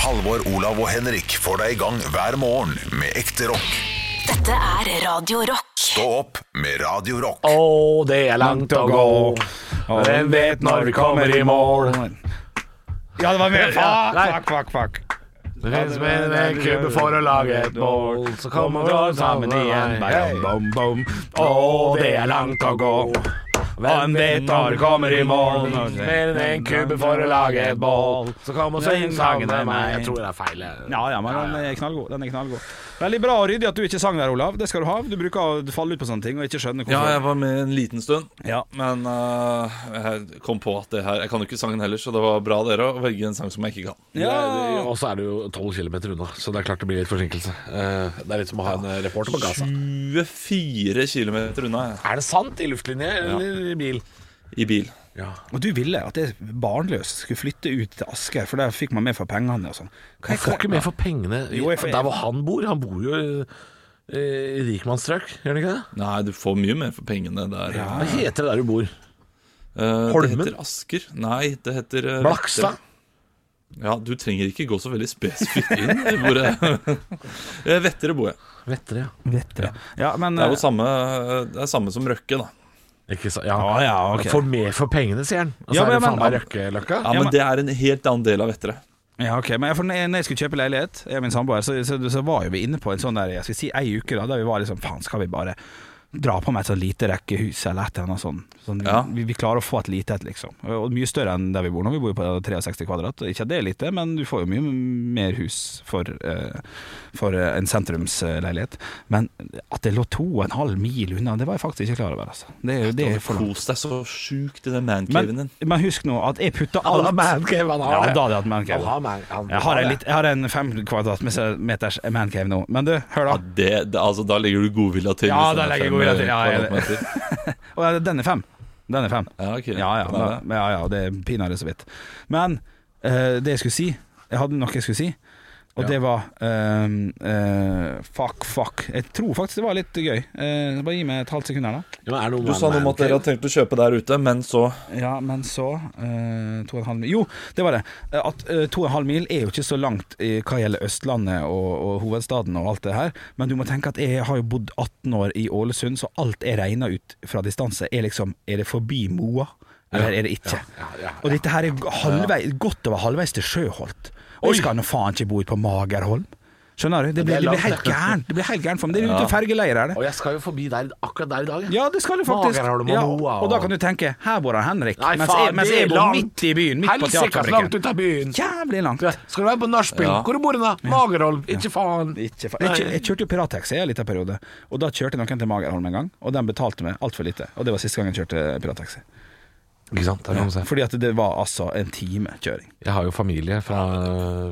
Halvor, Olav og Henrik får deg i gang hver morgen med ekte rock. Dette er Radio Rock. Stå opp med Radio Rock. Å, det er langt å gå. Hvem vet når vi kommer i mål? Ja, det var mer Ja, Fuck, nei. fuck, fuck, fuck. Det fins menn en kubbe for å lage et mål, så kommer vi alle sammen igjen. Bam, bam, bam. Å, det er langt å gå. Hvem vet når vi kommer i mål? Mer enn en kubbe for å lage et bål. Så kom og syng sangen til meg. Jeg tror det er feil. jeg. Ja, ja, men den er knallgod. Den er knallgod. Veldig bra og ryddig at du ikke sang der, Olav. Det skal du ha. Du bruker å falle ut på sånne ting og ikke skjønne Ja, hvorfor. jeg var med en liten stund, Ja. men eh, jeg kom på at det her Jeg kan jo ikke sangen heller, så det var bra av dere å velge en sang som jeg ikke kan. Ja. Og så er det jo 12 km unna, så det er klart det blir litt forsinkelse. Eh, Det er litt som å ha en eh, reporter på Gaza. 24 km unna jeg, Er det sant i luftlinje eller i bil? i bil. Ja. Og du ville at det barnløs skulle flytte ut til Asker, for der fikk man mer for pengene og sånn. Hva Jeg får ikke mer for pengene i- Jo, jeg får- der hvor han bor. Han bor jo i- i rikmannsstrøk, gjør han ikke det? Nei, du får mye mer for pengene der. Hva heter det der du bor? Eh, Holmen? Det heter Asker. Nei, det heter eh, Blakstad? Ja, du trenger ikke gå så veldig spesifikt inn. i Hvor jeg, Eh, Vettere bor jeg. Vettere, ja. Ja, men Det er jo samme, eh, det er samme som Røkke, da. Ikke så, ja. Ja, ja, ok. For mer for pengene, sier han. Og så Ja, er det men- faen meg Røkkeløkka. Ja, Ja, men men- det er en helt annen del av Vettere. Ja, ok, men jeg- for når når jeg skulle kjøpe leilighet, jeg og min samboer, så, så, så var jo vi inne på en sånn der, jeg skal si ei uke da, der vi var liksom, faen skal vi bare dra på med et sånn lite rekkehus eller et eller annet sånn. sånn Ja. vi, vi klarer å få et lite et, liksom. Og mye større enn der vi bor nå, vi bor jo på 63 kvadrat, og ikke at det er lite, men du får jo mye mer hus for, eh, for eh, en sentrumsleilighet. Men at det lå to og en halv mil unna, det var jeg faktisk ikke klar over, altså. Det er jo det er for langt. Sånn, Kos deg så sjukt i den mancaven Men, din. men husk nå at jeg putter Han alt. har mancave, han Ja, har da det. hadde jeg hatt mancave. Han har man- han- Jeg har, en litt, jeg har en fem kvadratmeters mancave nå. Men du, hør da. Ja, det, det, altså, da legger du godvilja til. Ja, da hvis den er legger jeg fem godvilja til, ja, jeg- kvadratmeter. Å, ja, den er fem. Den er fem. Ja, ok. Ja ja, Den da, er det. ja, ja det er pinadø så vidt. Men eh, det jeg skulle si Jeg hadde noe jeg skulle si, og det var eh, eh, Fuck, fuck. Jeg tror faktisk det var litt gøy. Eh, bare gi meg et halvt sekund her, da. Ja, men er det noe Du med sa noe om at dere mancave? hadde tenkt å kjøpe der ute, men så Ja, men så eh, to og en halv mil. Jo, det var det. Eh, At eh, to og en halv mil er jo ikke så langt i hva gjelder Østlandet og, og hovedstaden og alt det her, men du må tenke at jeg har jo bodd 18 år i Ålesund, så alt jeg regner ut fra distanse, er liksom Er det forbi Moa, eller er det ikke? Og dette her er halvvei, godt over halvveis til Sjøholt. Og jeg skal nå faen ikke bo ute på Magerholm. Skjønner du? Det blir, Det er det blir langt, helt det. gærent. Det blir helt gærent for meg. Det er jo ute og fergeleier, er det. Og jeg skal jo forbi der akkurat der i dag. jeg. Ja, det skal du faktisk. Magerholm og Ja, Moa og- og da kan du tenke her bor han Henrik, Nei, mens, faen, jeg, mens det er jeg bor langt. midt i byen, midt på Helsikas langt teaterfabrikken. ut av byen! Jævlig langt. Skal du være på nachspiel? Ja. Hvor bor du da? Magerholm? Ikke faen. Ikke fa- Jeg, kjø- jeg kjørte jo pirattaxi en liten periode, og da kjørte noen til Magerholm en gang, og den betalte meg altfor lite. Og det var siste gang jeg kjørte pirattaxi. Ikke sant? Der kan du se. Fordi at det var altså en time kjøring. Jeg har jo familie fra,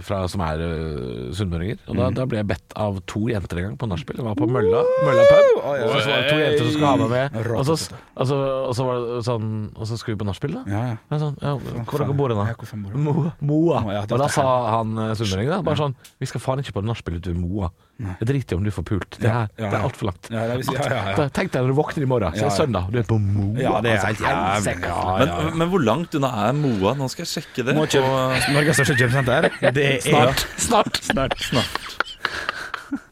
fra, som er øh, sunnmøringer. Og da, da ble jeg bedt av to jenter en gang på nachspiel. Jeg var på Mølla, Mølla pub. Oi, oi, Og oi. altså. så var det to jenter som skulle ha meg med. Og så, og så, og så var det sånn Og så skulle vi på nachspiel, da. Ja, ja. Men Sånn, ja, hvor dere bor Ja, hvor faen bor dere? dere? Moa. Moa. Å, ja, det og da var det. sa han eh, sunnmøringen da, bare sånn Vi skal faen ikke på nachspiel ute ved Moa. Jeg driter i om du får pult. Det, her, ja, det ja. er altfor langt. Ja, det vil si- ja, ja, ja. Da- Tenk deg når du våkner i morgen, så er det Ja, ja. søndag, og du er på Moa. Ja, det er Altså, helt jævlig. helsike. men, men hvor langt unna er Moa? Nå skal jeg sjekke det. Må på- kjøpe Norges største kjøpesenter. Det er Snart. Snart. Snart. Snart.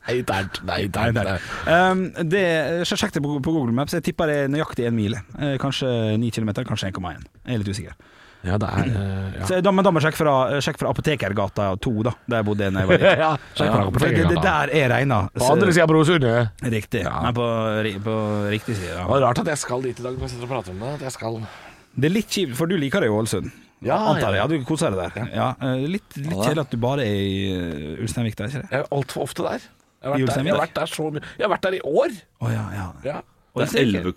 Nei, der, nei, der, Nei, der. Um, det, så sjekk det på, på Google Maps. Jeg tipper det er nøyaktig én mile. Eh, Kanskje 9 km, kanskje 1,1. Jeg er litt usikker. Ja, det er eh, ja. Så da, men da må jeg sjekke fra, sjekk fra Apotekergata 2, da, der jeg bodde da jeg var liten. ja, sjekk på For det, det der er regna. På andre sida av Brosundet. Riktig. Ja. Nei, på, ri- på riktig side. Det Ja. var rart at jeg skal dit i dag når jeg sitter og prater om det. At jeg skal Det er litt kjipt, for du liker det jo, Ålesund. Ja, Antar jeg. ja. Ja, du koser deg der. Ja. eh, Litt, litt Ja, da. kjedelig at du bare er i eh, Ulsteinvik, da, ikke det? Jeg er altfor ofte der. Jeg har, vært der, I jeg har Ulsteinvik? vært der så mye Jeg har vært der i år! Å ja, ja. Ja, Det er 11,1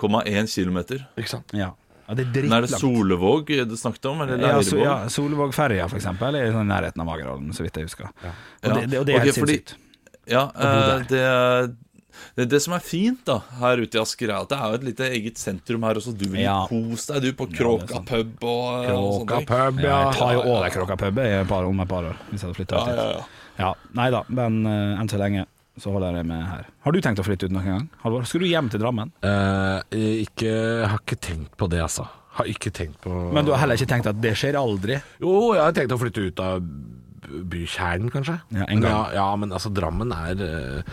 km. ikke sant? ja. Ja, det er Men er det drittlangt. Solevåg du snakket om? Eller Ja, so, Leirvåg? ja, Solvågferja, for eksempel, er i sånn nærheten av Magerholmen, så vidt jeg husker. Og det, det, og det er Ok, helt fordi- sinnssykt. Ja, bo eh, det, det, det som er fint da her ute i Asker, er at det er jo et lite eget sentrum her også. Du vil Ja. kose deg, du, på Kråka pub og, eh, og Kråka sånne ting. pub, sånn ja. Ja, jeg tar jo over Kråka pub i et par- om et par år, hvis jeg hadde flytta Ja, ut ja, dit. ja. Ja, nei da, men eh, enn så lenge så holder jeg det med her. Har du tenkt å flytte ut noen gang, Halvor? Skal du hjem til Drammen? Eh, ikke, jeg har ikke tenkt på det, altså. Har ikke tenkt på Men du har heller ikke tenkt at det skjer aldri? Jo, jeg har tenkt å flytte ut av b- bykjernen, kanskje. Ja, en gang. Men Ja, ja, men altså, Drammen er eh,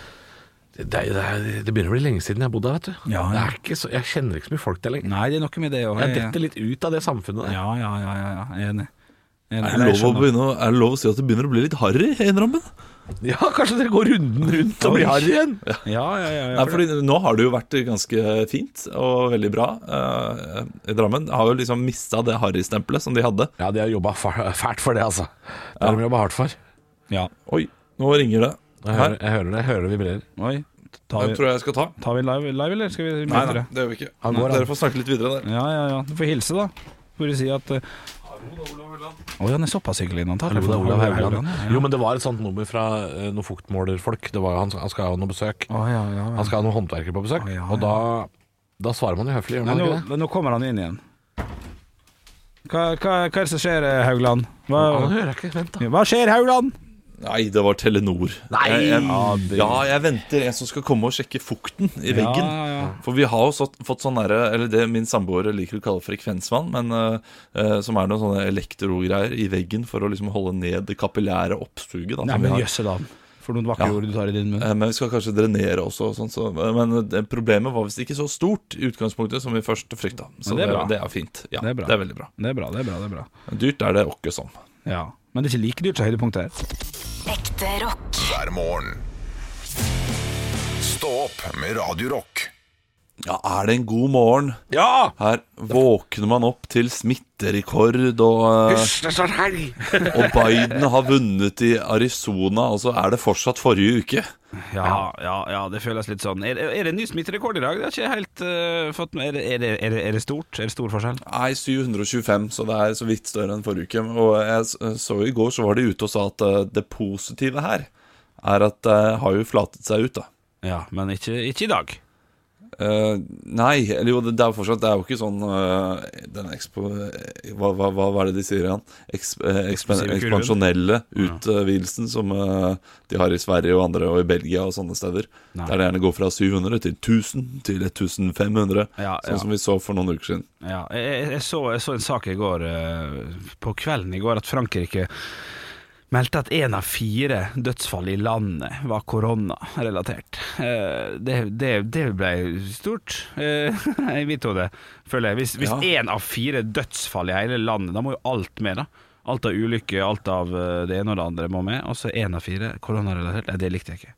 det, det, er- det begynner å bli lenge siden jeg bodde her, vet du. Ja, Det ja. er ikke så, jeg kjenner ikke så mye folk der lenger. Nei, det er noe med det òg. Jeg detter litt ut av det samfunnet der. Ja, ja, ja, ja, ja. Jeg er enig. Jeg Er enig. det, lov å begynne, å- er det lov å si at det begynner å bli litt harry i Drammen? Ja, kanskje dere går runden rundt og blir harry igjen. Ja, ja, ja. ja. Nei, fordi Nå har det jo vært ganske fint og veldig bra eh, i Drammen. Har jo liksom mista det harrystempelet som de hadde. Ja, de har jobba fa- fælt for det, altså. Det har de jobba hardt for. ja. Oi, nå ringer det. Jeg Her. hører, jeg hører det, jeg hører det vibrerer. Oi. Tar Den vi, tror jeg jeg skal ta. tar vi live, live, eller skal vi Nei, møte nei, det? det gjør vi ikke. Han går, han. Dere får snakke litt videre der. Ja, ja, ja. Du får hilse, da. Får du si at eh, Å, han er såpass hyggelig innan Hallo, det er Olav Haugland. Jo, men det var et sånt nummer fra eh, noen fuktmålerfolk. Det var, jo- han, han skal ha noe besøk. Å, ja, ja, ja. Han skal ha noen håndverkere på besøk. Å, ja, Og da, da svarer man jo høflig, gjør Nei, man nå, ikke det? nå kommer han inn igjen. Hva, hva, hva er det som skjer, eh, Haugland? Hva, Han hører jeg ikke. Vent, da. hva skjer, Haugland? Nei, det var Telenor. Nei! Jeg, Ja, jeg, det- ja, jeg venter en som skal komme og sjekke fukten i Ja, veggen. ja. For vi har jo så, fått sånn derre Eller det min samboer liker å kalle frekvensvann, men eh, eh, som er noen sånne elektrogreier i veggen for å liksom holde ned det kapillære oppsuget. Da, Nei, som vi men har. jøsse da. For noen vakre Ja. ord du tar i din munn. Eh, Men vi skal kanskje drenere også, og sånn, så, men det, problemet var visst ikke så stort i utgangspunktet som vi først frykta. Så Men det det er er, bra. det, er fint. Ja, Det er det er, bra. veldig bra. Det er bra, det er bra. det er bra Dyrt er det åkke som. Ja Men det er ikke like dyrt som høydepunktet her. Ekte rock. hver morgen. Stå opp med Radio Rock. Ja, er det en god morgen? Ja! Her våkner man opp til smitterekord, og, eh, Hysj, det står sånn helg! og Biden har vunnet i Arizona, og så er det fortsatt forrige uke. Ja, ja, ja, det føles litt sånn. Er, er det en ny smitterekord i dag? Det er ikke helt eh, fått med er det, er, det, er, det, er det stort? Er det stor forskjell? Nei, 725, så det er så vidt større enn forrige uke. Og jeg s- eh, så i går så var de ute og sa at eh, det positive her er at det har jo flatet seg ut, da. Ja, men ikke, ikke i dag. Eh, nei, eller jo, det det er jo fortsatt Det er jo ikke sånn eh, Den ekspo... Hva, hva, hva hva er det de sier igjen? Eksp, eh, ekspen, Eksplosive kurven. ekspansjonelle utvidelsen som eh, de har i Sverige og andre og i Belgia og sånne steder. Nei. Der det gjerne går fra 700 til 1000 til 1500, Ja, ja. sånn som vi så for noen uker siden. Ja, jeg, jeg- jeg, så, jeg så en sak i går, eh, på kvelden i går, at Frankrike meldte at én av fire dødsfall i landet var koronarelatert. Eh, Det, det, det ble stort eh, i mitt hode, føler jeg. Hvis, hvis Ja. én av fire dødsfall i hele landet, da må jo alt med, da. Alt av ulykker, alt av eh, det ene og det andre må med. Og så én av fire koronarelatert. Nei, det likte jeg ikke.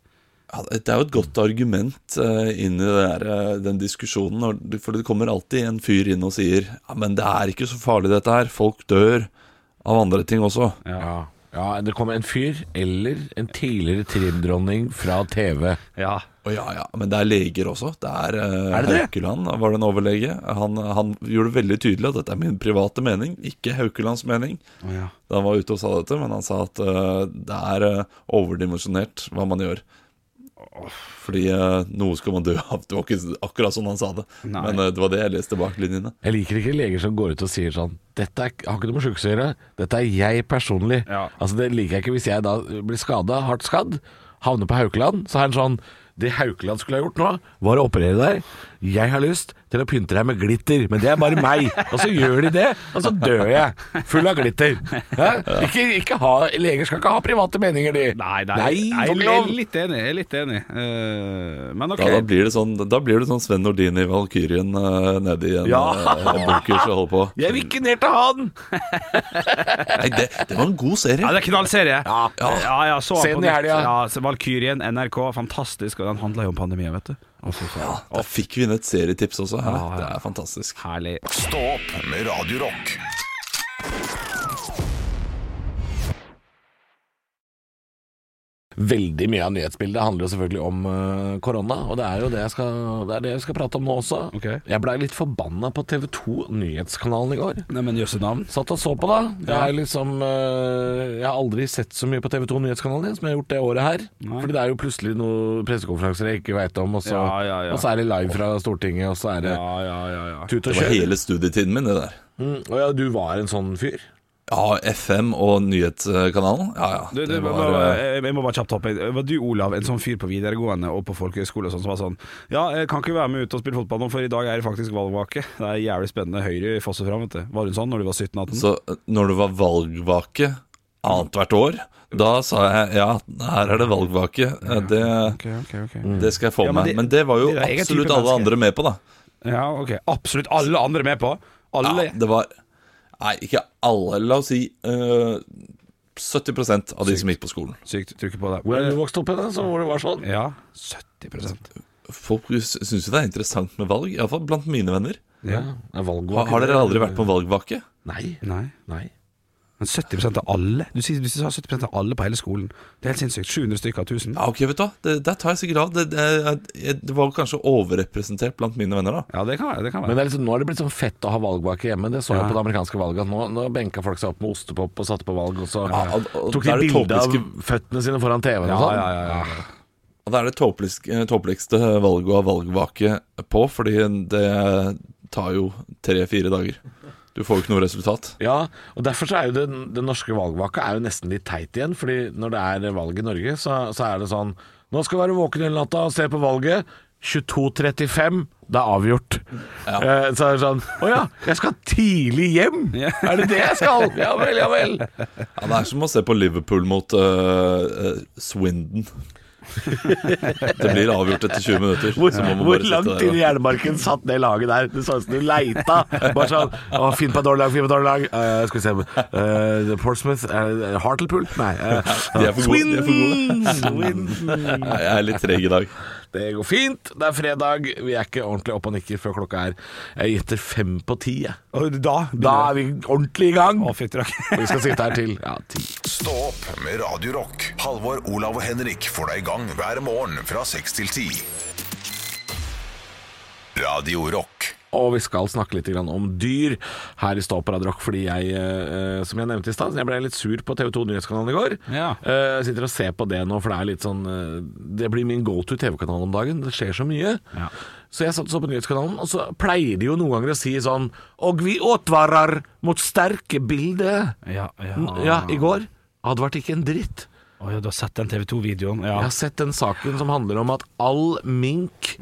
Ja, det er jo et godt argument eh, inn i det der, eh, den diskusjonen, når, du- for det kommer alltid en fyr inn og sier ja, men det er ikke så farlig dette her, folk dør av andre ting også. Ja. ja, det kommer en fyr eller en tidligere trimdronning fra TV. Ja. Å ja, ja, men det er leger også. Det er, uh, Er det det? Haukeland var det en overlege. Han, han gjorde det veldig tydelig at dette er min private mening, ikke Haukelands mening. Å, ja. Da han var ute og sa dette, men han sa at eh, det er eh, overdimensjonert hva man gjør. Fordi eh, noe skal man dø av. Det var ikke akkurat sånn han sa det. Nei. Men eh, det var det jeg leste bak linjene. Jeg liker ikke leger som går ut og sier sånn Dette er, har ikke noe med sykehus å gjøre, dette er jeg personlig. Ja. Altså Det liker jeg ikke hvis jeg da blir skada, hardt skadd, havner på Haukeland. Så er han sånn Det Haukeland skulle ha gjort nå, var å operere deg. Jeg har lyst til å pynte deg med glitter, men det er bare meg. Og så gjør de det, og så dør jeg. Full av glitter. Hæ? Ikke, ikke ha, leger skal ikke ha private meninger, de. Nei, nei, nei, jeg, får ikke jeg lov. er litt enig. Jeg er litt enig. Eh, men ok. Da, da, blir det sånn, da blir det sånn Sven Nordin i Valkyrien eh, nede i en Ja. eh, bunkers og holder på. Jeg vil ikke ned til han! Nei, det, det var en god serie. Ja, det er knallserie. Ja. ja, ja, så han Se på den i nett. helga. Ja, så Valkyrien, NRK, fantastisk. Og den handla jo om pandemien, vet du. Å, fy faen. Da fikk vi inn et serietips også. Her. Ja, ja. Det er fantastisk. Herlig. Stå opp med Radio Rock. Veldig mye av nyhetsbildet handler jo selvfølgelig om eh, korona, og det er jo det jeg skal, det er det jeg skal prate om nå også. Ok. Jeg blei litt forbanna på TV 2 Nyhetskanalen i går. Nei, men jøsse navn. Satt og så på, da. Jeg, er liksom, eh, jeg har aldri sett så mye på TV 2 Nyhetskanalen som jeg har gjort det året her. Nei. Fordi det er jo plutselig noen pressekonferanser jeg ikke veit om, og så, Ja, ja, ja. og så er det live fra Stortinget, og så er det Ja, ja, ja. ja. tut Det og var kjør. hele studietiden min, det der. Mm, og ja, du var en sånn fyr? Ja, FM og nyhetskanalen. Ja, ja. Du, du, det bare- var, eh, jeg, jeg må bare kjapt hoppe inn. Var du, Olav, en sånn fyr på videregående og på folkehøyskole og sånn, som var sånn Ja, jeg kan ikke være med ut og spille fotball nå, for i dag er det faktisk valgvake. Det er jævlig spennende. Høyre fosser fram, vet du. Var hun sånn når du var 17-18? så eh, når det var valgvake annethvert år. Da sa jeg ja, her er det valgvake. Eh, Det, det skal jeg få Ja, men med. det- Men det var jo det er egen type absolutt alle mennesker. andre med på, da. Ja, ok. Absolutt alle andre med på. Alle. Ja, det var Nei, ikke alle. La oss si eh, 70 av de som gikk på skolen. Sykt trykker på det. Hvordan du vokste opp henne, så hvor det var sånn. Ja, 70 Folk syns jo det er interessant med valg, iallfall blant mine venner. ja. Er Har, valgvake har dere aldri vært på en valgvake? Nei. Nei. Nei. Men 70 av alle? Du sier, du sier 70 av alle på hele skolen. Det er helt sinnssykt. 700 stykker av 1000. Ja, ok, vet du hva, det, Der tar jeg sikkert av. Det, det, det var kanskje overrepresentert blant mine venner, da. Ja, det kan være. Det kan Men være. det er liksom, nå er det blitt sånn fett å ha valgvake hjemme. Det så jeg Ja. på det amerikanske valget. At nå, nå benka folk seg opp med ostepop og satte på valg, og så Ja, og- og tok da de er det bilde av topiske- føttene sine foran TV-en og ja, sånn. ja, ja, ja. Og det er det tåpeligst- eh, tåpeligste valget å ha valgvake på, fordi det tar jo tre-fire dager. Du får jo ikke noe resultat. Ja, og derfor så er jo den, den norske valgvaka er jo nesten litt teit igjen. Fordi når det er valg i Norge, så, så er det sånn Nå skal du være våken hele natta og se på valget. 22.35, det er avgjort. Eh, så er det sånn Å ja, jeg skal tidlig hjem! Er det det jeg skal? Ja vel, ja vel. Ja, Det er som å se på Liverpool mot eh, eh, Swindon. det blir avgjort etter 20 minutter. Hvor, så må man hvor bare sitte langt der inn og- i jernmarken satt det laget der? Det så ut som du leita. Bare sånn Å, finn på et dårlig lag, finn på et dårlig lag. Eh, skal vi se eh, Portsmouth uh, Hartlepool? Nei. eh, De er for gode, de er for Swindon! Swindon. Nei, Jeg er litt treg i dag. Det går fint. Det er fredag. Vi er ikke ordentlig oppe og nikker før klokka er Jeg gjetter fem på ti. jeg. Og da Da er vi ordentlig i gang. Å, fytti rakk. Vi skal sitte her til ja, ti. Stå opp med Radio Rock. Halvor, Olav og Henrik får deg i gang hver morgen fra 6 til 10. Radio Rock. Og vi skal snakke litt grann om dyr her i Stå på Radio Rock, fordi jeg, eh, som jeg nevnte i stad, jeg ble litt sur på TV 2 Nyhetskanalen i går. Ja. Eh, Jeg sitter og ser på det nå, for det er litt sånn eh, Det blir min go to TV-kanal om dagen. Det skjer så mye. Ja. Så jeg satt og så på nyhetskanalen, og så pleier de jo noen ganger å si sånn Og vi advarer mot sterke bilder. Ja, ja. N- Ja, i går advarte ikke en dritt. Å ja, du har sett den TV 2-videoen? Ja. Jeg har sett den saken som handler om at all mink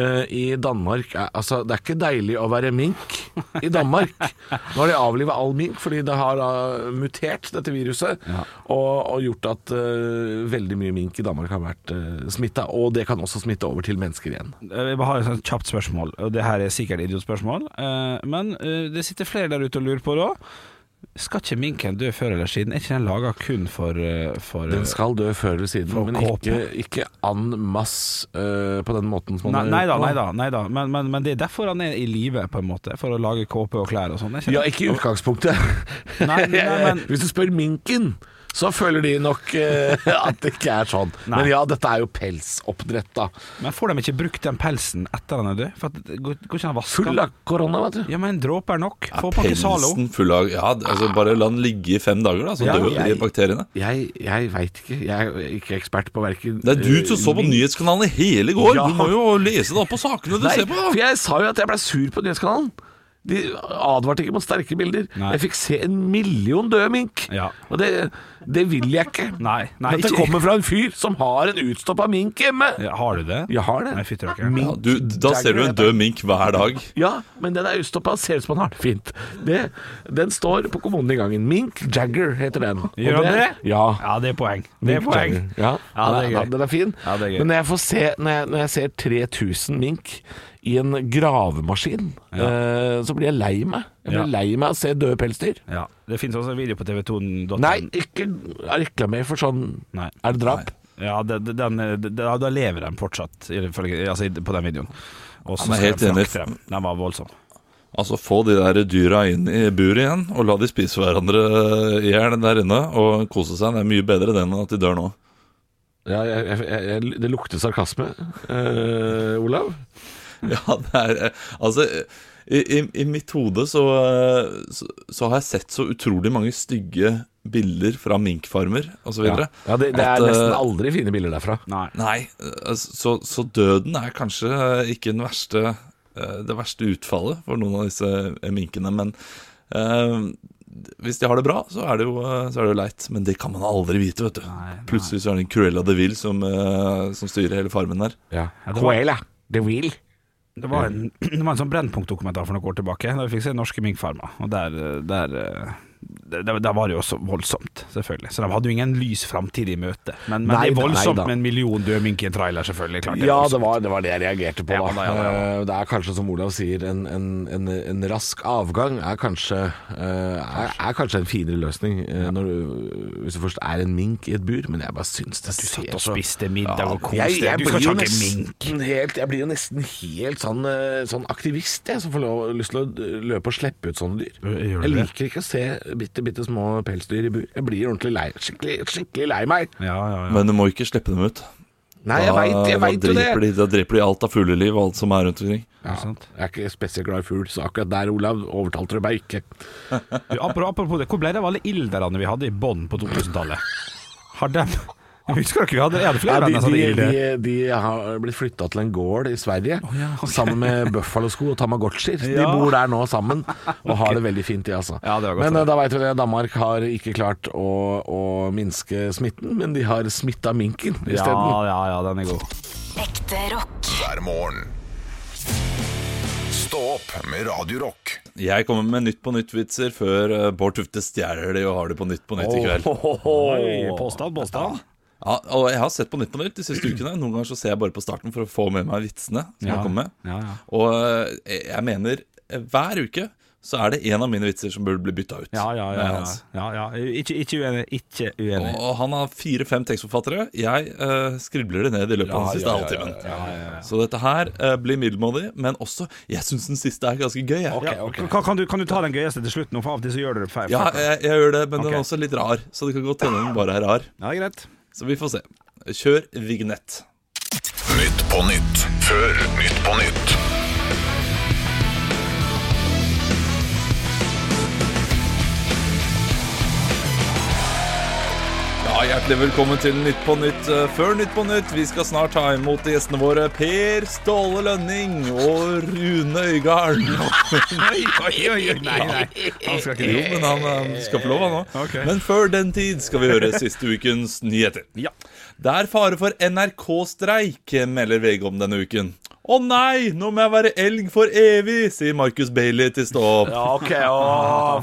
eh, i Danmark er, Altså, det er ikke deilig å være mink i Danmark. Nå har de avliva all mink fordi det har eh, mutert, dette viruset, og, og gjort at eh, veldig mye mink i Danmark har vært uh, smitta. Og det kan også smitte over til mennesker igjen. Jeg bare Eh, har et sånt kjapt spørsmål, og det her er sikkert idiotspørsmål. eh, Men eh, det sitter flere der ute og lurer på da. Skal ikke minken dø før eller siden? Er ikke den laga kun for, eh, for eh, Den skal dø før eller siden, For å men kåpe. ikke, ikke an masse eh, på den måten som man Nei, har nei da, gjort nå. nei da, nei da. Men, men, men det er derfor han er i live, på en måte. For å lage kåpe og klær og sånn. er ikke det? Ja, ikke i utgangspunktet. Nei, nei, men- Hvis du spør minken, så føler de nok eh, at det ikke er sånn. Nei. Men ja, dette er jo pelsoppdrett, da. Men får de ikke brukt den pelsen etter han er død? For at, det går, går ikke han vaske Full av korona, vet du. Ja, men en dråpe er nok. Ja, Få pakke Zalo. pelsen full av Ja, altså bare la den ligge i fem dager, da, så Ja, dør jo de jeg- bakteriene. Jeg, jeg veit ikke. Jeg er ikke ekspert på eh, verken Det er du som så på nyhetskanalen i hele går! Ja. Du må jo lese deg opp på sakene du Nei, ser på! for jeg sa jo at jeg ble sur på nyhetskanalen. De advarte ikke mot sterke bilder. Nei. Jeg fikk se en million døde mink. Ja. Og det, det vil jeg ikke. Nei, nei, Dette ikke- kommer fra en fyr som har en utstoppa mink hjemme. Ja, har du det? Jeg har det. Nei, fytti rakkeren. Ja, du, da ser du en død mink hver dag. Ja, men den er utstoppa. Ser ut som han har det fint. Det, den står på kommunen i gangen. Mink Jagger heter den. Og Gjør han det? Ja. Ja, det er poeng. Det er Mink poeng. Jagger. Ja, Ja, det er den, gøy. den er fin. Ja, det er gøy. Men når jeg, får se, når, jeg, når jeg ser 3000 mink i en gravemaskin, eh, så blir jeg lei meg. Jeg blir Ja. lei meg av å se døde pelsdyr. Ja. Det finnes også en video på tv2.no. Nei, ikke reklamer for sånn Nei. Er det drap? Ja, det, det- den, det, det- da, da lever den fortsatt, ifølge- altså, i- på den videoen. Og så Han er skal helt den enig. frakte dem. Den var voldsom. Altså, få de der dyra inn i buret igjen, og la de spise hverandre i hjel der inne og kose seg. Det er mye bedre det enn at de dør nå. Ja, jeg, jeg, jeg, det lukter sarkasme. Eh, Olav? Ja, det er Altså, i, i, i mitt hode så, så, så har jeg sett så utrolig mange stygge bilder fra minkfarmer osv. Ja, ja det, det er eh, nesten eh, aldri fine bilder derfra. Nei. Nei, eh, så, så døden er kanskje ikke den verste, eh, det verste utfallet for noen av disse eh, minkene. Men eh, hvis de har det bra, så er det jo, eh, så er det jo leit. Men det kan man aldri vite, vet du. Plutselig så er det en Cruella de Vil som, eh, som styrer hele farmen der. Ja. det var- Coela. The Wheel. Det var en, det var en sånn Brennpunkt-dokumentar for noen år tilbake, da vi fikk se norske minkfarmer. Og der, eh, der eh, det, det, det var jo også voldsomt, selvfølgelig. Så de hadde jo ingen lys framtid i møte. Men, men Nei da, det er nei voldsomt da. med en million døde mink i en trailer, selvfølgelig. Klart, Ja, voldsomt. det var, det var det jeg reagerte på. Da. Ja, da, ja, da, Eh, Det er kanskje, som Olav sier, en, en, en, en rask avgang er kanskje, eh, er, er kanskje en finere løsning eh, når du, hvis det først er en mink i et bur. Men jeg bare syns det Du satt ser og så spiste middag og koste jeg, jeg, deg. Du skal blir jo ikke ha mink. nesten helt, jeg blir jo nesten helt sånn, eh, sånn aktivist, jeg, som får lov, lyst til å løpe og slippe ut sånne dyr. Gjør du Jeg det? liker ikke å se bitte, bitte små pelsdyr i bur. Jeg blir ordentlig lei, skikkelig, skikkelig lei meg. Ja, ja, ja. Men du må ikke slippe dem ut. Nei, jeg veit, jeg da, vet jo det. dreper de, da dreper de alt av fugleliv og alt som er rundt omkring. Ja, Ikke sant? jeg er ikke spesielt glad i fugl, så akkurat der, Olav, overtalte du meg ikke. Du, apropos, apropos det, hvor ble det av alle ilderne vi hadde i bånn på 2000-tallet? Har dem Jeg Husker dere vi hadde, jeg hadde flere de, venner som de, hadde ilder? de, de har blitt flytta til en gård i Sverige, ja, ok. sammen med Buffalo-sko og Tamagotchier. De Ja. bor der nå sammen, og har det veldig fint, de, altså. Ja, det var godt men å eh, da veit vi det, Danmark har ikke klart å, å minske smitten, men de har smitta minken Ja, isteden. ja, ja, den er god. Ekte rock. hver morgen. Stå opp med Radio Rock. Jeg kommer med Nytt på nytt-vitser før eh, Bård Tufte stjeler de og har det på Nytt på nytt i kveld. Oi, påstand, påstand. Ja, og jeg har sett på Nytt på nytt de siste ukene. Noen ganger så ser jeg bare på starten for å få med meg vitsene som Ja. jeg kommer med. Ja, ja. Og eh, jeg mener eh, hver uke så er det en av mine vitser som burde bli bytta ut. Ja, ja, med ja. hans. ja, ja. Ikke, ikke uenig. Ikke uenig. Og han har fire-fem tekstforfattere. Jeg eh, skribler det ned i løpet av den siste halvtimen. Så dette her eh, blir middelmådig, men også Jeg syns den siste er ganske gøy. Jeg. Ja, Kan, kan, du, kan du ta den gøyeste til slutt nå, for av og til så gjør du det feil. Ja, jeg, jeg gjør det, men den Ok. er også litt rar. Så det kan godt hende den bare er rar. Ja, greit. Så vi får se. Kjør vignett. Nytt på nytt før Nytt på nytt. Ja, Hjertelig velkommen til Nytt på Nytt eh, før Nytt på Nytt. Vi skal snart ta imot gjestene våre Per Ståle Lønning og Rune Øygarden. nei, oi, oi, oi, nei, nei. Han skal Jo, men han eh, skal få lov, han òg. Ok. Men før den tid skal vi høre siste ukens nyheter. Ja. Det er fare for NRK-streik, melder VG om denne uken. Å nei, nå må jeg være elg for evig, sier Marcus Bailey til Stå opp. Ok, å,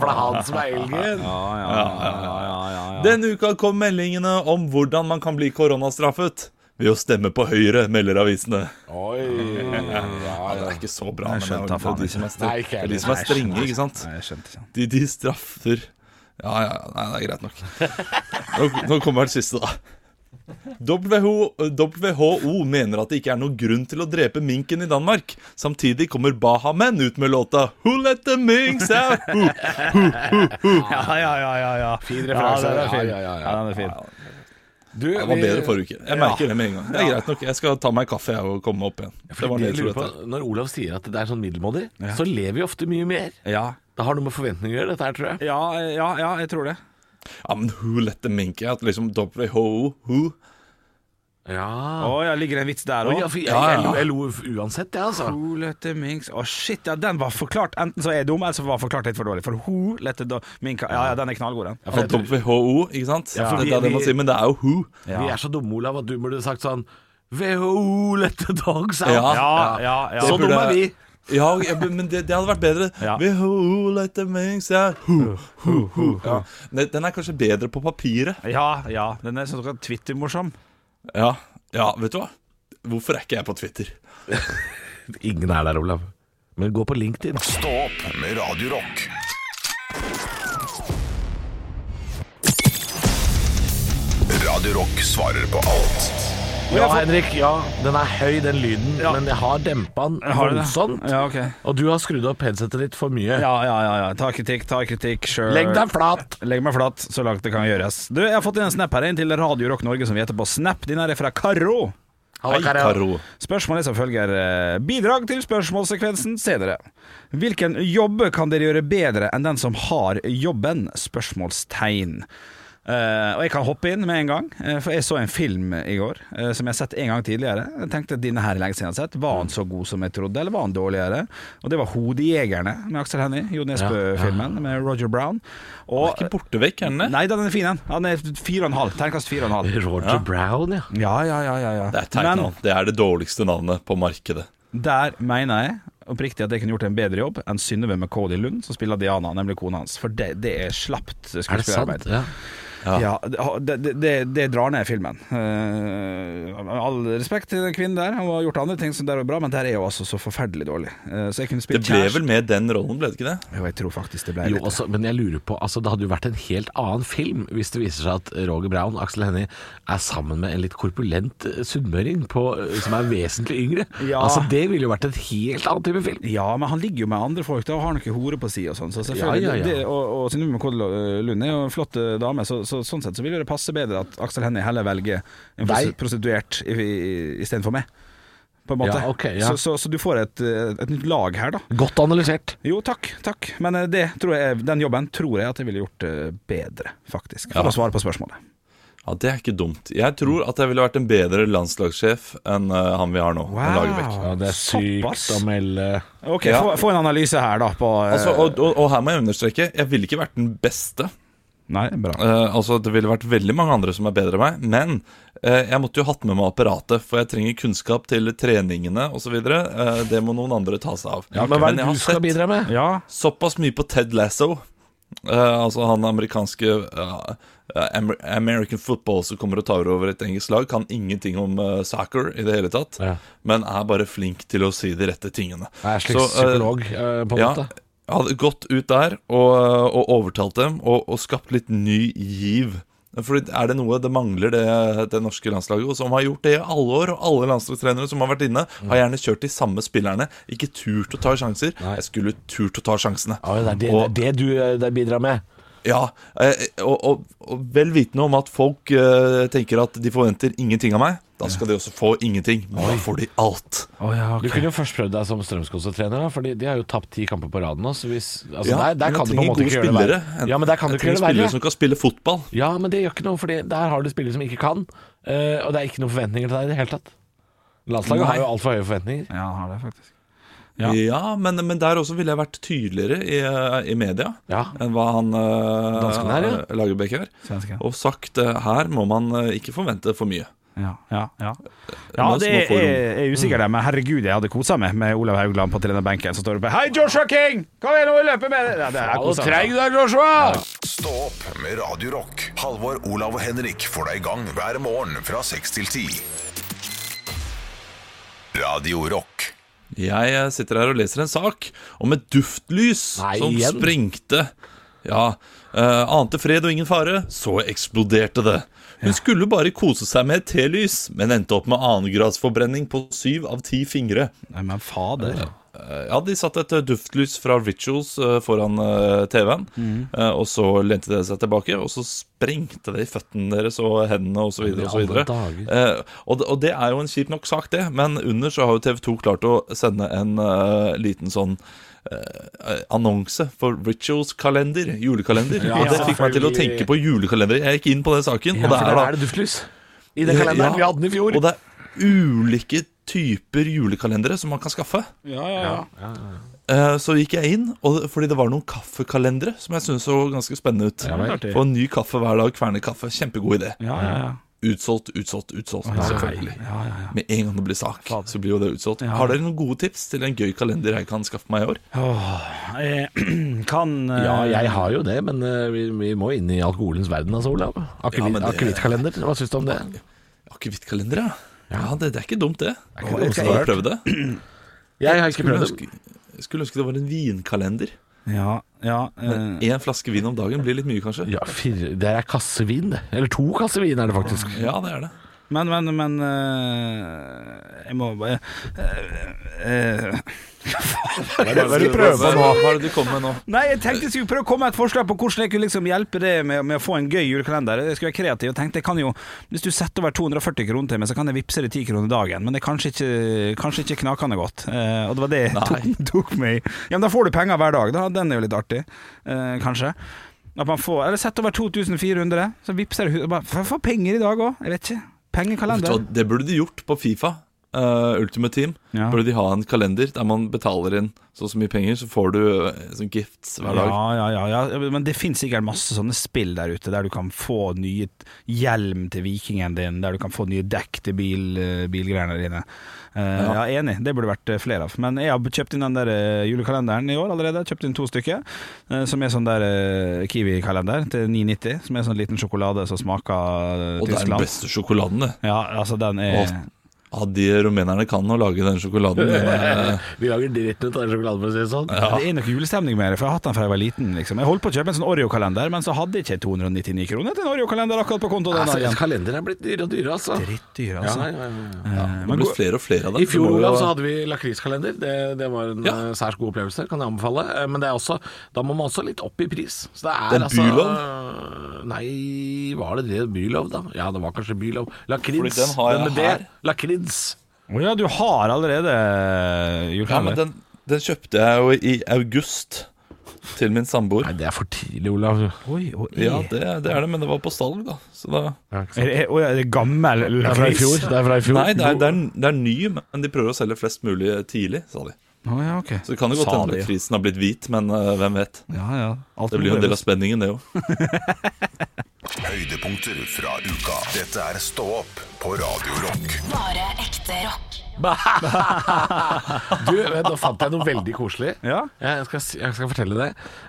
for det er han som er elgen. Ja, ja, ja, ja, ja, ja. Denne uka kom meldingene om hvordan man kan bli koronastraffet. Ved å stemme på Høyre, melder avisene. Oi. Ja, Ja, det er ikke så bra, Jeg men det er skjønte jo- det faen er de som er, str- Nei, ikke det er, de heller. som er Nei, strenge, ikke sant? Nei, jeg skjønte ikke. De, de straffer Ja, ja, ja, nei, det er greit nok. Nå, nå kommer den siste, da. WHO, WHO mener at det ikke er noen grunn til å drepe minken i Danmark. Samtidig kommer Bahamen ut med låta 'Who let the minks out'. Who? Ja, ja, ja, ja, ja. Fin referanse. Ja, den er fin. Ja, ja, ja, ja. den er fin. Du, Det var vi- bedre forrige uke. Jeg merker det med en gang. Det er greit nok. Jeg skal ta meg en kaffe jeg, og komme meg opp igjen. Det var det jeg det jeg lurer trodde. på, Når Olav sier at det er sånn middelmådig, så lever vi ofte mye mer. Ja. Det har noe med forventninger å gjøre, dette her, tror jeg. Ja, ja, ja, jeg tror det. Ja, men who let the mink out? Liksom WHO, who? Å Ja. ja, ligger det en vits der Oi, òg? ja, for jeg, Ja, ja. jeg, lo, jeg lo uansett, jeg, altså. Who let the minks Å shit, ja, den var forklart Enten så er jeg dum, eller så var forklart litt for dårlig. For who let the do- mink Ja, ja, den er knallgod, den. Ja, WHO, ikke sant? Ja, for det, vi- er det man vi- sier, men det er jo who. Vi er så dumme, Olav, at du burde sagt sånn WHO, let the dogs out. Ja. Ja, ja, ja. Så Det burde- dumme er vi. Ja, jeg- men det, det hadde vært bedre. Ja. WHO, let the minks out, who, who, who. Ja. Nei, Den er kanskje bedre på papiret. Ja, ja. Den er sånn Twitter-morsom. Ja. ja, vet du hva? Hvorfor er ikke jeg på Twitter? Ingen er der, Olav. Men gå på LinkedIn. Stå opp med Radio Rock. Radio Rock svarer på alt. Ja, Henrik. ja, Den er høy, den lyden, Ja. men jeg har dempa den Har du det? voldsomt. Ja, ok. Og du har skrudd opp headsetet ditt for mye. Ja, ja, ja, ja. Ta kritikk, ta kritikk sjøl. Legg deg flat! Legg meg flat så langt det kan gjøres. Du, Jeg har fått inn en snap her inn til Radio Rock Norge, som vi heter på Snap. Den her er fra Karo. Hei, Halla, Karo. Karo. Spørsmålet er som følger eh, Bidrag til spørsmålssekvensen senere. Hvilken jobb kan dere gjøre bedre enn den som har jobben? Spørsmålstegn. Eh, og jeg kan hoppe inn med en gang, eh, for jeg så en film i går eh, som jeg har sett en gang tidligere. Jeg tenkte denne her er lenge siden jeg har sett. Var han så god som jeg trodde, eller var han dårligere? Og det var 'Hodejegerne' med Aksel Hennie, Jo Nesbø-filmen med Roger Brown. Og, Ikke borte vekk, er den det? Nei, den er fin, den. Han er fire og en halv. Terningkast fire og en halv. Roger Brown, ja. Ja, ja, ja, ja, ja. Det er teit Men- navn. Det er det dårligste navnet på markedet. Der mener jeg oppriktig at jeg kunne gjort en bedre jobb enn Synnøve McCauley Lund, som spiller Diana, nemlig kona hans. For det, det er slapt Er det sant? skuespillerarbeid. Ja. Ja. Ja, det, det, det, det drar ned filmen. Eh, med all respekt til den kvinnen der, hun har gjort andre ting som der var bra, men der er hun altså så forferdelig dårlig. Eh, så jeg kunne Det spilt ble kjæresten- vel med den rollen, ble det ikke det? Jo, jeg tror faktisk det ble Jo, litt også, men jeg lurer på altså, Det hadde jo vært en helt annen film hvis det viser seg at Roger Brown Aksel Hennie er sammen med en litt korpulent eh, sunnmøring på- eh, som er vesentlig yngre. Ja. Altså Det ville jo vært en helt annen type film. Ja, men han ligger jo med andre folk da, og har noen hore på si og sånn. Så selvfølgelig, Ja, ja, ja. Det, og, og Synnøve Mokod Lund er jo en flott eh, dame, så, så sånn sett så ville det passe bedre at Aksel Hennie heller velger en Deg? prosti- prostituert istedenfor meg, på en måte. Ja, ok, ja. Så, så, så du får et, eh, et nytt lag her, da. Godt analysert. Jo, takk, takk. Men eh, det tror jeg, den jobben tror jeg at jeg ville gjort eh, bedre, faktisk. For Ja. å svare på spørsmålet. Ja, Det er ikke dumt. Jeg tror at jeg ville vært en bedre landslagssjef enn eh, han vi har nå. han Lagerbäck. Såpass. melde Ok, Ja. få, få en analyse her, da. På, eh, Altså, og, og, og her må jeg understreke, jeg ville ikke vært den beste. Nei, bra. Eh, altså, Det ville vært veldig mange andre som er bedre enn meg, men eh, jeg måtte jo hatt med meg apparatet, for jeg trenger kunnskap til treningene osv. Uh, det må noen andre ta seg av. Ja, men hva er det jeg har du skal sett bidra med? Ja, såpass mye på Ted Lasso, eh, altså han amerikanske eh, Amer- American football som kommer og tar over et engelsk lag, kan ingenting om eh, soccer i det hele tatt, Ja. men er bare flink til å si de rette tingene. Jeg er Så, slags eh, psykolog, eh, på en ja, måte. jeg hadde gått ut der og, og overtalt dem og, og skapt litt ny giv. For er det noe det mangler det, det norske landslaget, og som har gjort det i alle år, og alle landslagstrenere som har vært inne, Mm. har gjerne kjørt de samme spillerne, ikke turt å ta sjanser. Nei. Jeg skulle turt å ta sjansene. Ja, det, er det, Og- det er det du eh, det bidrar med. Ja, eh, og, og, og vel vitende om at folk eh, tenker at de forventer ingenting av meg, da skal de også få ingenting. Men da får de alt. Å, ja Du kunne jo først prøvd deg som Strømskog-trener, da, Fordi de har jo tapt ti kamper på raden nå. Så hvis, altså, Ja, der, men der jeg kan du på en trenger måte gode ikke gjøre det verre. spillere. Ja, men der kan du ikke gjøre Jeg trenger det spillere verre. som kan spille fotball. Ja, men det gjør ikke noe, Fordi der har du spillere som ikke kan. eh, og det er ikke noen forventninger til deg i det hele tatt. Landslaget har Nei. jo altfor høye forventninger. Ja, han har det faktisk. Ja. Ja, men, men der også ville jeg vært tydeligere i, eh, i media Ja, enn hva han Dansken uh, her, ja. Lagerbäck er. Svensken. Og sagt eh, her må man eh, ikke forvente for mye. Ja, ja, ja. Nå- det nå er, får hun- er, er usikker der, men herregud, jeg hadde kosa meg med Olav Haugland på denne benken. Så står du på Hei, Joshua King! Kom igjen, nå løper med deg! Ja, det er kosa meg. du deg, Joshua! Stå opp med Radio Rock. Halvor, Olav og Henrik får deg i gang hver morgen fra 6 til 10. Radio Rock. Jeg eh, sitter her og leser en sak om et duftlys Nei, som igjen? sprengte. Ja, eh, ante fred og ingen fare, så eksploderte det. Hun skulle bare kose seg med et telys, men endte opp med annengradsforbrenning på syv av ti fingre. Nei, men fader. Eh, Ja, de satte et eh, duftlys fra Rituals eh, foran eh, TV-en, Mm. eh, og så lente de seg tilbake, og så sprengte det i føttene deres og hendene osv. Men i Og, så videre. alle dager. Eh, og, det- og det er jo en kjip nok sak, det, men under så har jo TV 2 klart å sende en eh, liten sånn eh, annonse for Rituals-kalender, julekalender. Ja, og det fikk meg til å selvfølgelig. tenke på julekalender. Jeg gikk inn på den saken, Ja, og for det er der da er det duftlys. I den kalenderen vi hadde den i fjor. Og det er ulike typer julekalendere som man kan skaffe. Ja, ja, ja. Eh, Så gikk jeg inn, og, det- fordi det var noen kaffekalendere som jeg syntes så ganske spennende ut. Ja, vel. og ny kaffe hver dag, kverne kaffe. Kjempegod idé. ja, ja, ja. Utsolgt, utsolgt, utsolgt. selvfølgelig. Med en gang det blir sak, så blir jo det utsolgt. Har dere noen gode tips til en gøy kalender jeg kan skaffe meg i år? Åh, eh, kan eh, Ja, jeg har jo det, men eh, vi, vi må inn i alkoholens verden, altså, Olav. Akevitt- Ja, men det- Akevittkalender, hva syns du om det? Akevittkalender, ja. Ja, det, det er ikke dumt, det. ikke dumt. Skal dere prøve det? Jeg har ikke Skulle prøvd det. ønske, skulle ønske det var en vinkalender. Ja, ja, eh, Én flaske vin om dagen blir litt mye, kanskje. Ja, fire, det er kassevin, det. Eller to kassevin er det faktisk. Ja, det er det. Men, men, men eh, Jeg må bare eh, eh, Hva er det du prøver på nå? Hva er det du kommer med nå? Nei, jeg tenkte jeg skulle prøve å komme med et forslag på hvordan jeg kunne liksom hjelpe det med, med å få en gøy julekalender. Jeg skulle være kreativ og tenkte jeg kan jo Hvis du setter over 240 kroner til meg, så kan jeg vippse det 10 kroner dagen. Men det er kanskje ikke, kanskje ikke knakende godt. Eh, og det var det jeg tok, tok meg i. Ja, men da får du penger hver dag, da. Den er jo litt artig, eh, kanskje. At man får Eller sett over 2400, så vippser jeg bare, Får jeg penger i dag òg? Jeg vet ikke. Vet du Pengekalender. hva, Det burde de gjort på Fifa. eh, Ultimate Team Ja. burde de ha en kalender der man betaler inn så og så mye penger, så får du eh, sånn gifts hver dag. Ja, ja, ja, ja, men det finnes sikkert masse sånne spill der ute, der du kan få nye t- hjelm til vikingen din, der du kan få nye dekk til bil, eh, bilgreiene dine. Eh, ja. Enig, det burde vært eh, flere av. Men jeg har kjøpt inn den der eh, julekalenderen i år allerede. Kjøpt inn to stykker, eh, som er sånn der eh, Kiwi-kalender til 9,90, som er sånn liten sjokolade som smaker eh, Og det er den Tyskland. beste sjokoladen, det. Ja, altså den er Åh. Ja, de rumenerne kan å lage den sjokoladen. eh, Vi lager dritten ut av den sjokoladen, for å si det sånn. Det er nok julestemning med det, for jeg har hatt den fra jeg var liten. Liksom. Jeg holdt på å kjøpe en sånn Oreo-kalender, men så hadde jeg ikke 299 kroner til en Oreo-kalender akkurat på konto. Den Altså, dagen. kalenderen er blitt dyrere og dyrere, altså. Drittdyr, Ja, altså. nei, nei, nei. Det blir flere og flere av dem. I fjor Det må jo- Olav, så hadde vi lakriskalender. Det, det var en Ja. eh, særs god opplevelse, kan jeg anbefale. Eh, Men det er også, da må man også litt opp i pris. Så det er Det er altså bylov? eh, Nei, var det det bylov, da? Ja, det var kanskje bylov. Lakrids. Fordi den har jeg men med her. det, Lakrids. Å ja, du har allerede eh, Ja, men julekalender. den, den kjøpte jeg jo i august til min samboer. Nei, det er for tidlig, Olav. Oi, oi, Ja, det, det er det, men det var på salg, da. Så da er det, å, ja, er det gammel Det er fra i fjor. Det er fra i fjor. Nei, det er, det, er, det er ny, men de prøver å selge flest mulig tidlig, sa de. Å ja, ok. Så det kan jo godt Sa hende de. krisen har blitt hvit, men eh, hvem vet. Ja, ja. Alt Det blir jo en mulig. del av spenningen, det òg. Høydepunkter fra uka. Dette er Stå opp på Radio Rock. Bare ekte rock. Du, vet, nå fant jeg noe veldig koselig. Ja. Jeg, skal, si- jeg skal fortelle det.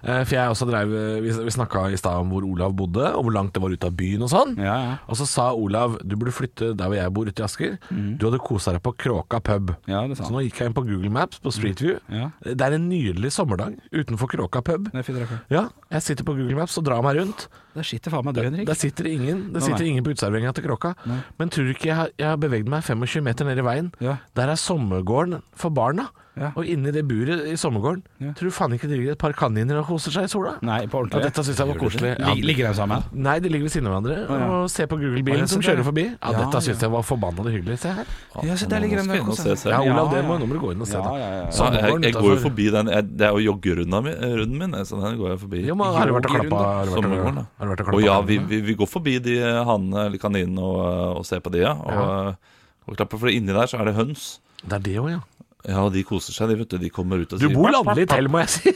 Eh, For jeg også drev eh, Vi, vi snakka i stad om hvor Olav bodde, og hvor langt det var ut av byen og sånn. Ja, ja. Og så sa Olav du burde flytte der hvor jeg bor, ute i Asker. Du hadde kosa deg på Kråka pub. Mhm. Ja, det sa så han. nå gikk jeg inn på Google Maps på Street View. Ja. Det er en nydelig sommerdag utenfor Kråka pub. Det er fint, Rakel. Ja, jeg sitter på Google Maps og drar meg rundt. Der sitter faen meg du, Henrik. Der sitter det ingen, der sitter nei. ingen på uteserveringa til Kråka. Men tror du ikke jeg har, jeg har beveget meg 25 meter ned i veien? Ja. Der er sommergården for barna. Ja. Og inni det buret i sommergården Ja. tror du faen ikke det ligger et par kaniner og koser seg i sola? Nei, på Ja, ordentlig. dette syns jeg var koselig. Lig- Ligger de sammen? Nei, de ligger ved siden av hverandre Å, ja. og ser på Å, ja, Google-bilen se som der, ja. kjører forbi. Ja, Ja, dette syns ja. jeg var forbanna hyggelig. Se her. Ja, se, der ligger de Nå skal jeg inn og se selv. Ja, Olav, Ja, det må ja. nå må du gå inn og se. Ja, da. ja, ja. Ja, jeg, Sommergården altså. jeg går jo utenfor- forbi den. Jeg, det er jo joggerunden min, eh, runden min, så den går jeg forbi. Jo, men har du vært og klappa? Har du vært og- Sommergården, da. har du vært og Og klappa ja, vi, kaniner? vi, vi går forbi de hanene eller kaninene og, eh, og ser på de, ja. Og, eh, og klapper, for inni der så er det høns. Det er det òg, ja. Ja, og de koser seg, de, vet du. De kommer ut og Du sier bor landlig til, må jeg si.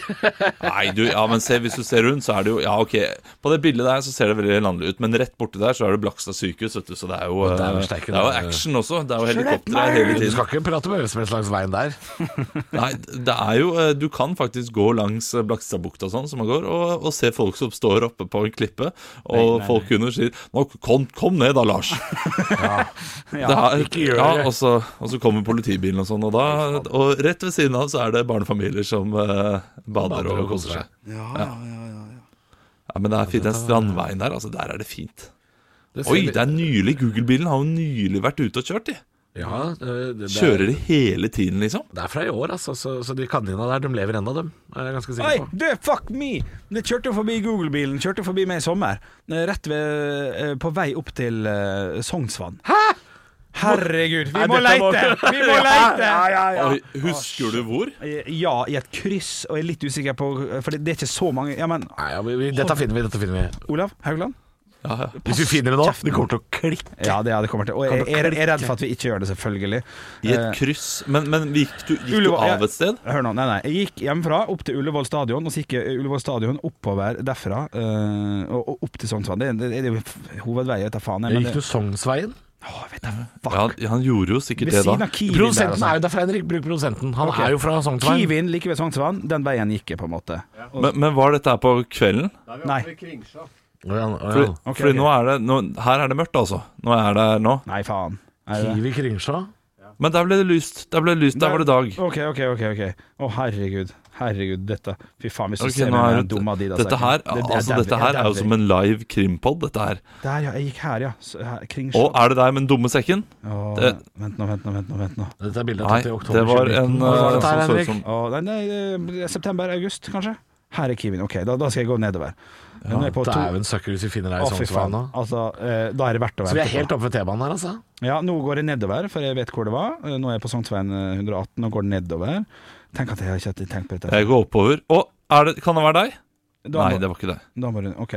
Nei, du, ja, men se, hvis du ser rundt, så er det jo Ja, ok, på det bildet der så ser det veldig landlig ut, men rett borti der så er det Blakstad sykehus, vet du, så det er jo, Og der er eh, det sterke- det er jo action også. Det er jo helikoptre hele Du tiden. skal ikke prate med hvem som helst langs veien der. Nei, det er jo eh, Du kan faktisk gå langs eh, Blakstadbukta og sånn, som man går, og, og se folk som står oppe på en klippe, og folk under sier Nå, kom, kom ned da, Lars. Ja, er- ikke gjør det. Ja, og, så, og så kommer politibilen og sånn, og da Og rett ved siden av så er det barnefamilier som eh, bader og koser seg. Ja, men det er fint. Den strandveien der, altså, der er det fint. ser Oi, vi- det er nylig. Google-bilen har jo nylig vært ute og kjørt, de. Ja, det, det, det, er, Kjører de hele tiden, liksom? det er fra i år, altså. Så, så de kanina der, de lever ennå, dem. Er jeg ganske Oi, sikker på. du, fuck me! Det kjørte jo forbi Google-bilen. Kjørte forbi meg i sommer. Eh, Rett ved, eh, på vei opp til eh, Sognsvann. Hæ?! Herregud, vi Nei, må dette må leite! ikke- Vi må leite! Oi, husker du hvor? Eh, Ja, i et kryss, og jeg er litt usikker på For det det er ikke så mange Ja, men Nei, ja, vi, vi, dette finner vi, dette finner vi. Olav Haugland? Ja, ja. Hvis vi finner det nå, det kommer til å klikke. Ja, det, ja, det kommer til. Og jeg, jeg, jeg er redd for at vi ikke gjør det, selvfølgelig. I et Eh, kryss. Men, men gikk, du, gikk du Ullevål- av et sted? Hør nå, nei, nei. Jeg gikk hjemmefra opp til Ullevål stadion, og så gikk jeg Ullevål stadion oppover derfra eh, og, og opp til Sognsvann. Det, det, det er jo f- hovedvei, jeg tar faen. jeg, men Gikk det- du Sognsveien? Åh, vet jeg, fuck. Ja, ja, han gjorde jo sikkert Ved det, siden da. av Kiwien der, Produsenten altså. er jo derfra, Henrik. Bruk produsenten. Han Ok. er jo fra Sognsveien. Kiwien like ved Sognsvann, den veien gikk jeg på en måte. Men, men var dette her på kvelden? Nei. Å ja, å Fordi, ja. Ok, fordi ok. nå er det nå, Her er det mørkt, altså. Nå er det nå. Nei, faen. Er det- Kiwi Kringsjå. Men der ble det lyst. Der ble det lyst, der var det dag. Ok, ok, ok. ok Å, herregud. Herregud, dette Fy faen, hvis du Ok, ser nå meg er med den det, dumme Adidas dette her, Det- det er altså, der- dette her det er jo der- som en live krimpod, dette her. Der, ja. Jeg gikk her, ja. Så her, Kring Og er det deg med den dumme sekken? Åh, det- Vent nå, vent nå, vent nå. vent nå Dette er bildet Nei, tatt i oktober det var 2019. en Hva var eh, dette her, som så Henrik? ut som Åh, nei, nei, det er September, august, kanskje? Her er Kiwien. Ok, da, da skal jeg gå nedover. nå er jeg på to Dæven søkker hvis vi finner deg i Å, fy faen. Sognsveien nå. Altså, eh, da er det verdt å Så vi vente er på. helt oppe ved T-banen her, altså. Ja, nå går jeg nedover, for jeg vet hvor det var. Eh, Nå er jeg på Sognsveien eh, 118 og går nedover. Tenk at jeg har ikke hadde tenkt på dette. Jeg går oppover. Å, er det, kan det være deg? Da Eh, Nei, må, det var ikke deg. da må du, ok.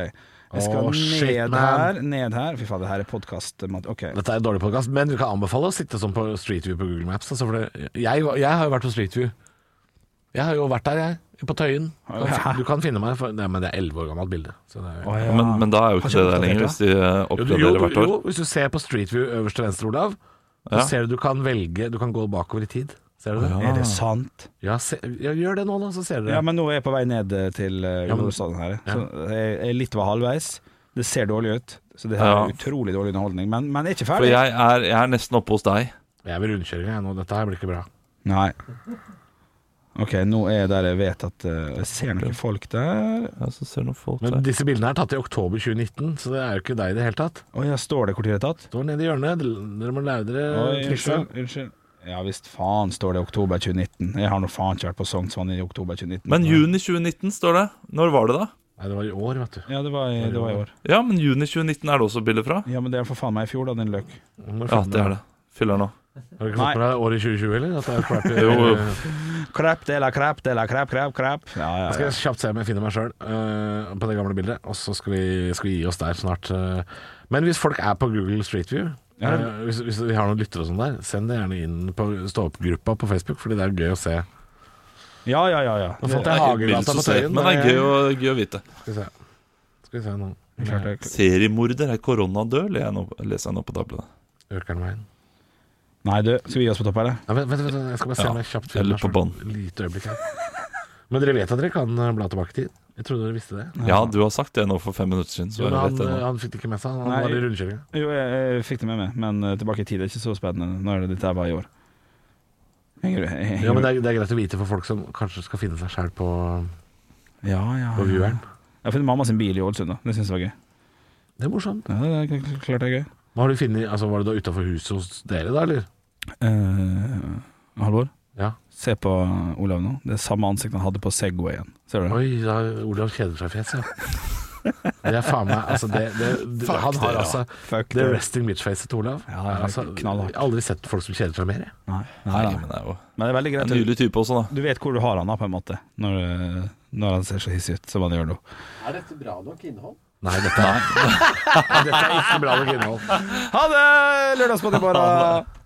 Jeg skal Åh, ned shit, man. her, ned her. Fy faen, det her er podkast. Ok. Dette er en dårlig podkast, men du kan anbefale å sitte sånn på Street View på Google Maps. Altså for det, jeg, jeg har jo vært på Street View. Jeg har jo vært der, jeg. På Tøyen. Du kan- Du kan finne meg for, nei, men Det er elleve år gammelt bilde. Så det er, Å, ja. Men, men da er jo Har ikke det der oppdatert lenger, det? hvis de eh, jo, du- jo, oppgraderer hvert du- år. jo, hvis du ser på Street View øverst til venstre, Olav, så Ja. ser du du kan velge Du kan gå bakover i tid. Ser du det? Er det sant? Ja, se, ja, gjør det nå, da, så ser du det. Ja, men nå er jeg på vei ned eh, til uh, Ja, men- Ulvestaden her. Så jeg jeg er litt over halvveis. Det ser dårlig ut. Så det her Ja. er utrolig dårlig underholdning. Men, men jeg er ikke For ferdig. jeg er, jeg er nesten oppe hos deg. Jeg vil rundkjøringa, jeg nå. Dette her blir ikke bra. Nei. OK, nå er jeg der jeg vet at eh, Jeg ser noen folk der. Ja, så ser noen folk Men der. disse bildene er tatt i oktober 2019, så det er jo ikke deg i det hele tatt. Å ja, står det hvor tid det er tatt? Står nede i hjørnet. Dere må lære dere Oi, triksa. unnskyld. unnskyld. Ja visst faen står det oktober 2019. Jeg har nå faen ikke vært på Sognsvann i oktober 2019. Men juni 2019 står det. Når var det, da? Nei, det var i år, vet du. Ja, det var, i, det var i år. Ja, men juni 2019 er det også bilde fra. Ja, men det er for faen meg i fjor, da, din løk. Du må Ja, finne det er det. Fyller nå. Har du ikke fått med deg året 2020 heller? At det er klart, eh, Jo, jo. Crap, dela crap, dela crap, crap, crap. Ja, ja, Jeg ja. skal kjapt se om jeg finner meg sjøl på det gamle bildet, og så skal vi, skal vi gi oss der snart. eh. Men hvis folk er på Google Street View Ja. eh, hvis, hvis vi har noen lyttere og sånn der, send det gjerne inn på stå-opp-gruppa på Facebook, fordi det er gøy å se. ja, ja, ja, ja. Nå Det- fant jeg Bil Hagegata som på ser- Tøyen. Men det der er gøy jeg- å, gøy å vite. Skal vi se, skal vi se nå. Klart det. Seriemorder er koronadød, leser jeg nå, leser jeg nå på tablene. Økernveien. Nei, du, skal vi gi oss på topp, eller? Nei, vent, vent, vent, jeg skal bare se om jeg Ja, kjapt eller finner på meg sjøl. Lite øyeblikk her. Men dere vet at dere kan eh, bla tilbake i tid? Jeg trodde dere visste det. Ja, du har sagt det nå for fem minutter siden, så Jo, jeg men han, eh, vet det nå. han fikk det ikke med seg, han Nei. var i rundkjøringa. Jo, jeg, jeg fikk det med meg, men eh, tilbake i tid er ikke så spennende. Nå er det dette her bare i år. Henger du? Henger Ja, men du? det er, det er greit å vite for folk som kanskje skal finne seg sjæl på, ja, ja, på ja. vieweren. Jeg har funnet mamma sin bil i Ålesund, da. Det syns jeg var gøy. Det er morsomt. Ja, det er kl- klart det er gøy. Men Har du funnet, altså, var det da utafor huset hos dere, da, eller? Eh, Halvor, Ja. se på Olav nå. Det er samme ansikt han hadde på Segwayen. Ser du det? Oi, da Olav kjeder seg fjes, ja. Det er faen meg Altså, det, det, det Han har altså Fuck Det resting bitch-facet til Olav Ja, det er er altså, knallhardt. Jeg har aldri sett folk som kjeder seg mer, jeg. Nei, nei, Nei, nei. men det er jo Men det er veldig greit. en nylig type også, da. Du vet hvor du har han da, på en måte, når, eh, når han ser så hissig ut som han gjør nå. Er dette bra nok innhold? Nei, dette er, dette er ikke bra nok innhold. Ha det! Lørdagsbåt i morgen!